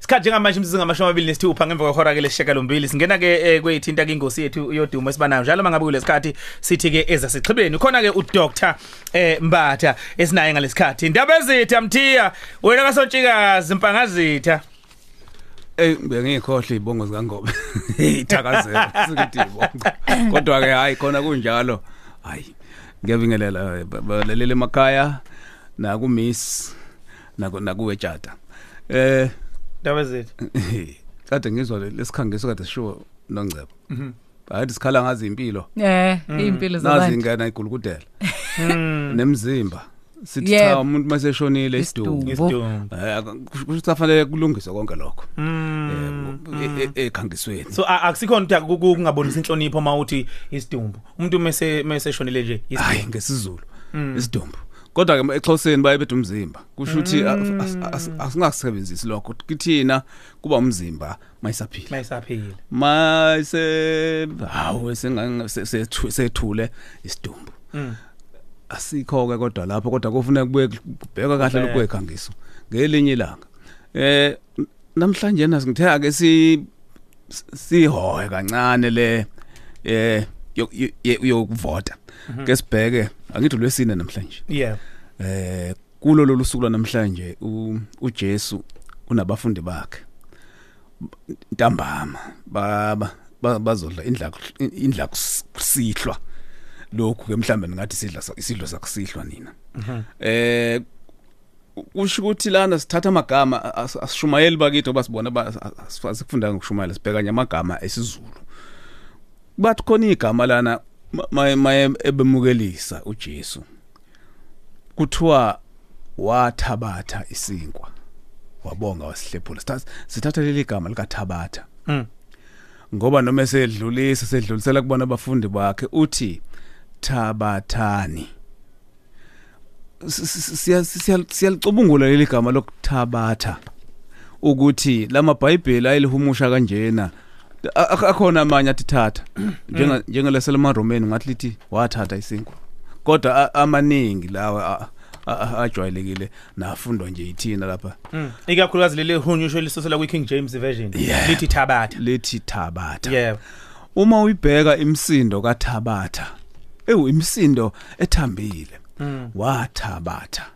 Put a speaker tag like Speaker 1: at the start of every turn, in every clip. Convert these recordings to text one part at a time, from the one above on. Speaker 1: isikhathi njengamanje imizinga amashumi amabili nesithupha ngemva kwehora ke lesishiyagalombili singena ke kweyithinta ke eh, ingosi yethu yodumo esibanayo njalo mangabe kulesikhathi sithi-ke ezasixhibeni khona-ke udoktor um mbatha esinaye ngalesikhathi indaba ezitha mthiya wena kasontshikazi mpangazitha
Speaker 2: Eh bengikhohle izibongo zikangobe. Ithakazela sikuthi izibongo. Kodwa ke hayi khona kunjalo. Hayi. Ngiyabingelela balele emakhaya na ku miss na ku na kuwe tjata. Eh
Speaker 1: indaba ezitha
Speaker 2: kade ngizwa le- lesikhangiso kade sisho nongcebo. Mhm. Hayi sikhala ngazi impilo.
Speaker 3: eh impilo
Speaker 2: Nazi
Speaker 3: zabantu
Speaker 2: ingane igulukudela. Nemzimba. Sithi
Speaker 3: Yebo.
Speaker 2: cha umuntu maseshonile
Speaker 3: Isidubu.
Speaker 2: isidubu.
Speaker 1: isidumbu
Speaker 2: Eh kusho kufanele kulungiswe konke lokho.
Speaker 1: Mm.
Speaker 2: Eh e- e- ekhangisweni.
Speaker 1: so a- akusikhona ukuthi akuku- kungabonisa inhlonipho uma uthi isidumbu umuntu mese mese shonile nje isidumbu
Speaker 2: hayi ngesizulu isidumbu kodwa ke exhoseni baye bethu umzimba kusho ukuthi a- as- as- asingasebenzisi lokho kithina kuba umzimba mayisaphila
Speaker 1: mayisaphile
Speaker 2: mayise hawo sesethule isidumbu asikho ke kodwa lapho kodwa kufuneka kubuye kubhekwa kahle
Speaker 1: Kubhekwe.
Speaker 2: lokho ekhangiso ngelinye ilanga eh n- namhlanje nasi ngithe ake si sihoye kancane le eh yok- yo- ye- yokuvota ke sibheke angithi lwesine namhlanje
Speaker 1: yeah
Speaker 2: eh kulo lolu suku namhlanje u- uJesu unabafundi bakhe ntambama baba ba- bazodla indla indla kusihlwa lokhu ke mhlambe ningathi sidla sa- isidlo sakusihlwa nina eh kusho ukuthi lana sithatha amagama as- asishumayeli bakithi basibona asikufundanga ukushumayela sibheka nje amagama esizulu bathi khona igama lana ma- ma- maye ebemukelisa uJesu kuthiwa wathabatha isinkwa wabonga wasihlephula Sithatha- sithatha leli gama likathabatha
Speaker 1: Mm.
Speaker 2: ngoba noma esedlulisa sedlulisela kubona abafundi bakhe uthi thabathani S- s- siya- siya- siyalicubungula leli gama lokuthabatha ukuthi lamabhayibheli ayelihumusha kanjena A- akh- akhona amanye athi thatha Njenga- njengeleselimaromeni ngathi lithi wathatha isinkwa kodwa a- amaningi lawa a- a- a- ajwayelekile nafundwa nje yithina lapha
Speaker 1: Mm. ikakhulukazi leli hunyusho elisusela kwi-king james version
Speaker 2: Yeah.
Speaker 1: lithi thabatha
Speaker 2: lethi thabatha
Speaker 1: yeah
Speaker 2: uma uyibheka imsindo kaThabatha ewu imsindo ethambile wathabatha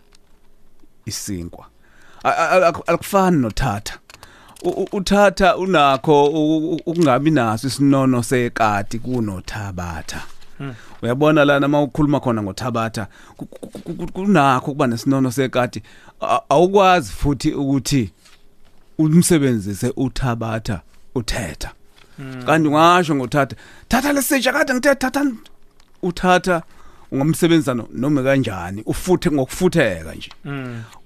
Speaker 2: isinkwa A- a- a- aku- akufani nothatha U- u- uthatha unakho u- u- ukungabi naso isinono sekati kunothabatha uyabona lana uma ukhuluma khona ngothabatha ku- ku- ku- ku- kunakho kuba nesinono sekati A- awukwazi futhi ukuthi umsebenzise uthabatha uthetha kanti ngasho ngothatha thatha lesitsha kade ngithe thatha uthatha ungamsebenzisa no- noma kanjani ufuthe ngokufutheka nje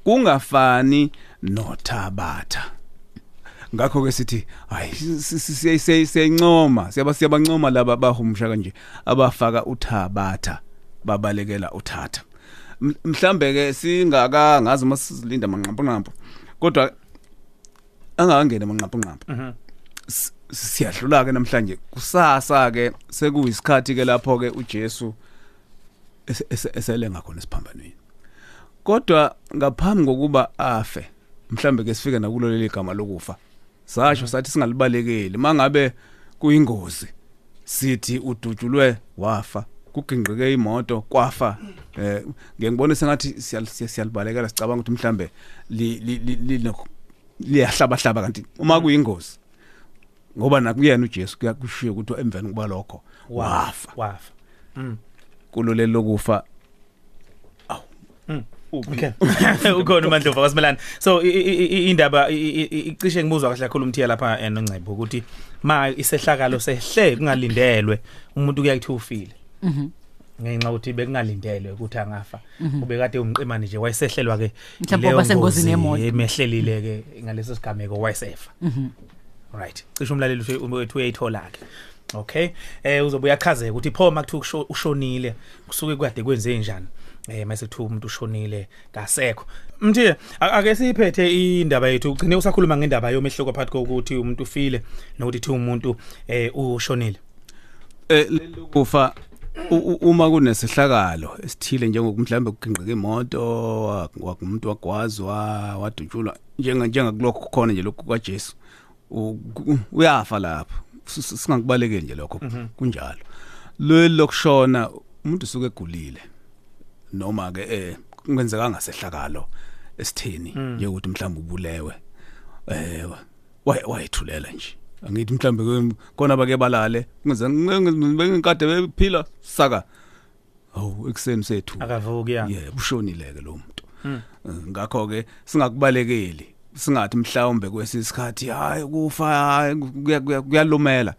Speaker 2: kungafani nothabatha ngakho ke sithi hayi si- si- siya- siya- siyayincoma siyaba siyabancoma laba bahumusha kanje abafaka uthabatha babalekela uthatha M- mhlambe ke singaka ngazi uma silinda manqampu nqampu kodwa angangena manqampu nqampu s- siyadlula ke namhlanje kusasa ke sekuyisikhathi ke lapho ke uJesu ese- ese- eselenga khona esiphambanweni kodwa ngaphambi kokuba afe mhlambe ke sifike nakuloleli igama lokufa sasho sathi singalibalekeli mangabe kuyingozi sithi udutshulwe wafa kugingqike imoto kwafa eh ngiyengibona sengathi siyal- siya- siyalibalekela sicabanga ukuthi mhlambe li- li- li- linokhu- liyahlaba hlaba kanti uma kuyingozi ngoba nakuyena uJesu kuyakushiya ukuthi emveni kuba lokho wafa
Speaker 1: wafa
Speaker 2: kulolelo lokufa
Speaker 1: okay ukhona umandlovu akasimelana so i- i- i- i- indaba i- i- i- icishe ngibuzwa kahle kakhulu umthiya lapha eh, nongcebo ukuthi ma isehlakalo sehle kungalindelwe umuntu kuyakuthi ufile ngenxa yokuthi bekungalindelwe ukuthi angafa ubekade umqimane nje wayesehlelwa-ke
Speaker 3: Mhm. Mhlawumbe
Speaker 1: yileyo
Speaker 3: wasengozini
Speaker 1: ngozi
Speaker 3: yemoto. Mhm.
Speaker 1: emehlelile-ke ngaleso sigameko wayesefa right cishe umlaleli uthe- wethu uyayithola-ke okay um uzobuya achazeka ukuthi pho uma kuthiwa kusho- ushonile kusuke kade kwenze njani um mase kuthiwa umuntu ushonile kasekho mthiye a- ake siyiphethe indaba yethu ugcine usakhuluma ngendaba yomehloko phakathi kokuthi umuntu eh, ufile nokuthi thi umuntu um ushonile
Speaker 2: eh lelo kufa u- u- uma kunesehlakalo esithile njengokumhlawumbe kugingqike imoto wakumuntu wagwazwa wadutshulwa njenga njengakulokho khona nje lokhu kwaJesu u- ku- uyafa lapho S- s- singakubalekeli nje lokho kunjalo lo lokushona umuntu usuke egulile noma ke eh kungenzeka ngasehlakalo esitheni njengokuthi mhlawumbe ubulewe eh waye wayethulela nje angithi mhlawumbe khona bake balale ngizengikade bephila saka awu ekseni sethu
Speaker 1: akavuki ya
Speaker 2: yeah ushonile ke lo muntu ngakho ke singakubalekeli singathi mhlawumbe kwesisikhathi hayi kufa hayi kuya- kuya- kuyalumela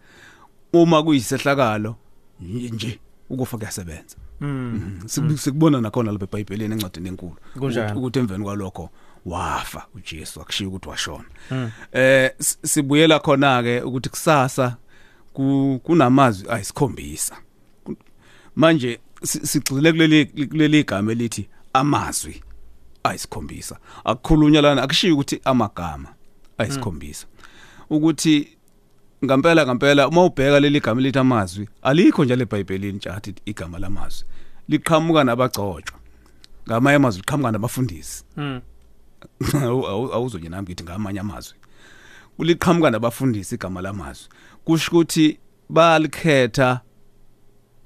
Speaker 2: uma kuyisehlakalo nje nje ukufa kuyasebenza
Speaker 1: mm
Speaker 2: Mhm. Siku- sikubona nakhona lapha eBhayibhelini encwadini enkulu
Speaker 1: Kunjani?
Speaker 2: ukuthi- ukuthi emveni kwalokho wafa uJesu akushiya ukuthi washona
Speaker 1: Mm.
Speaker 2: eh s- sibuyela khona ke ukuthi kusasa ku- kunamazwi ayisikhombisa Ku- manje si- sigxile kuleli kuleli igama elithi amazwi ayisikhombisa akukhulunywa lana akushiya ukuthi amagama ayisikhombisa ukuthi ngampela ngampela uma ubheka leli gama elithi amazwi alikho njalo eBhayibhelini ntshathi igama lamazwi liqhamuka nabagcotshwa ngamanye amazwi liqhamuka nabafundisi
Speaker 1: mm
Speaker 2: Awu- awu- awuzonye nami ngithi ngamanye amazwi uliqhamuka nabafundisi igama lamazwi kusho ukuthi balikhetha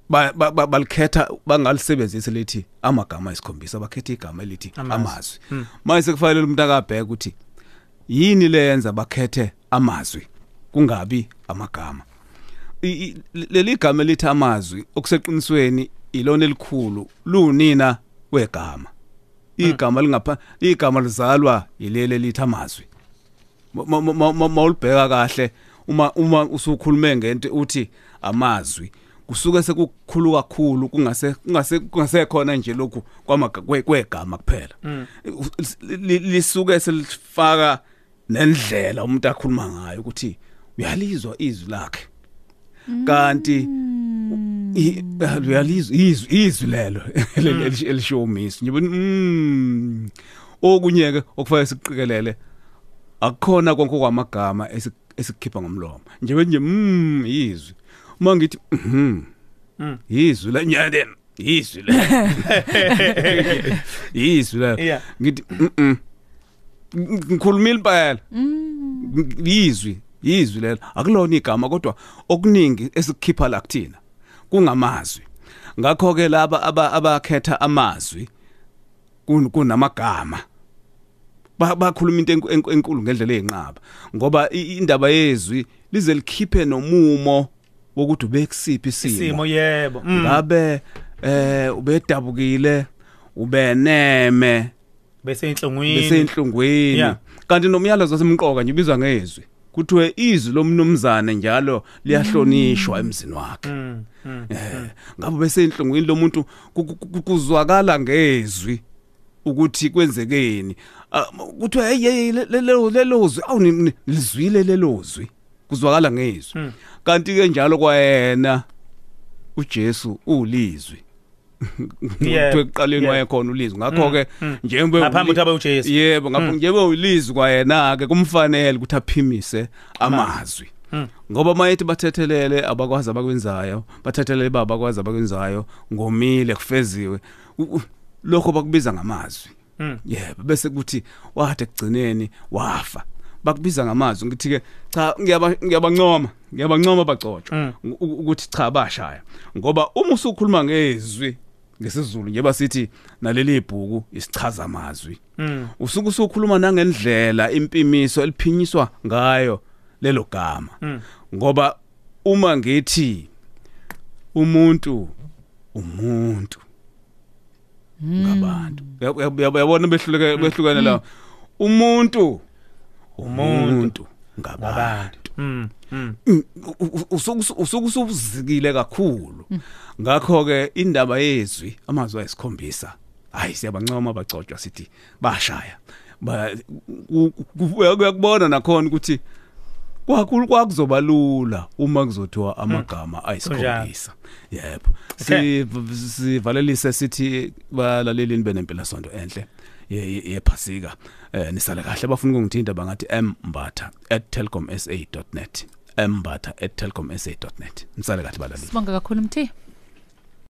Speaker 2: ba- ba- ba- balikhetha bangalisebenzisi lithi amagama ayisikhombisa bakhetha igama elithi
Speaker 1: Amazwi.
Speaker 2: amazwi manje sekufanele umuntu akabheka ukuthi yini leyenza bakhethe amazwi kungabi amagama I- i- leli gama elithi amazwi okuseqinisweni ilona elikhulu lunina wegama igama lingapha igama lizalwa yileli elithi amazwi Ma- ma- ma- ma- mawulibheka kahle uma uma usukhulume ngento uthi amazwi kusuke sekukhulu kakhulu kungase kungase kungase khona nje lokhu kwamaga kwe- kwegama kuphela U- li- lisuke selifaka nendlela umuntu akhuluma ngayo ukuthi uyalizwa izwi lakhe kanti i- ah, uyalizwa izwi izwi lelo eli- elishomiso nje mm okunye ke okufanele siqikelele akukhona konke kwamagama esikhipha ngomlomo njebe nje mm yizwi uma ngithi mhm
Speaker 1: Mm.
Speaker 2: yizwi la nyane yizwi la yizwi la
Speaker 1: Yeah.
Speaker 2: ngithi mhm ngikhuluma impela yizwi yizwi lelo akulona igama kodwa okuningi esikukhipha la kuthina kungamazwi ngakho ke laba aba- abakhetha amazwi kun- kunamagama ba- bakhuluma into enku- enku- enkulu ngendlela eyinqaba ngoba i- indaba yezwi lize likhiphe nomumo wokuthi ubekusiphi isimo
Speaker 1: isimo yebo mm.
Speaker 2: ngabe eh ubedabukile ubeneme
Speaker 1: bese inhlungwini
Speaker 2: besenhlungwini
Speaker 1: Yeah.
Speaker 2: kanti nomyalezo wasemqoka nje ubizwa ngezwi kuthiwe izwi lomnumzane njalo liyahlonishwa emzini wakhe
Speaker 1: Mm, mm.
Speaker 2: Eh, ngabe besenhlungwini lomuntu ku- ku- ku- kuzwakala ngezwi ukuthi kwenzekeni Ah, kuthiwe hey hey lelo lelozwi awuni lizwile lelozwi kuzwakala ngezwi
Speaker 1: Mm.
Speaker 2: kanti ke njalo kwayena uJesu ulizwi
Speaker 1: Yeah,
Speaker 2: kuthiwe ekuqaleni
Speaker 1: yeah.
Speaker 2: wayekhona ulizwi ngakho ke
Speaker 1: mm.
Speaker 2: njengoba
Speaker 1: ngaphambi ukuthi abe uJesu Hmm.
Speaker 2: yebo ngapho njebe ulizwi kwayena ke kumfanele ukuthi aphimise amazwi
Speaker 1: Mm.
Speaker 2: ngoba mayethi bathethelele abakwazi abakwenzayo bathethelele baba abakwazi abakwenzayo ngomile kufeziwe U- u- lokho bakubiza ngamazwi
Speaker 1: Mm.
Speaker 2: yebo bese kuthi wathi ekugcineni wafa bakubiza ngamazwi ngithi ke cha ngiyaba- ngiyabancoma ngiyabancoma
Speaker 1: Hmm.
Speaker 2: bagcotshwa u- u- ukuthi cha bashaya ngoba uma usukhuluma ngezwi ngesizulu njeba sithi naleli ibhuku isichaza amazwi
Speaker 1: Mm.
Speaker 2: usuke usukhuluma nangendlela impimiso eliphinyiswa ngayo lelo gama ngoba uma ngithi umuntu umuntu ngabantu Uya- uya- uya- uyabona behluleke behlukene la Mm. umuntu umuntu ngabantu
Speaker 1: abantu mm. mm.
Speaker 2: usukusuzikile kakhulu ngakho ke indaba yezwi amazwi ayisikhombisa hayi siyabancoma abagcotshwa sithi bashaya Ba- ku- ku- uyakubona nakhona ukuthi kwakhulu kwakuzoba lula uma kuzothiwa amagama ayisikhombisa yebo
Speaker 1: Okay.
Speaker 2: Si- sivalelise sithi balalelini benempilo sonto enhle ye- ye- yephasika eh nisale kahle bafuna ukungithinta bangathi mbatha@telkomsa.net mbatha@telkomsa.net nisale kahle balaleli
Speaker 3: sibonga kakhulu mthi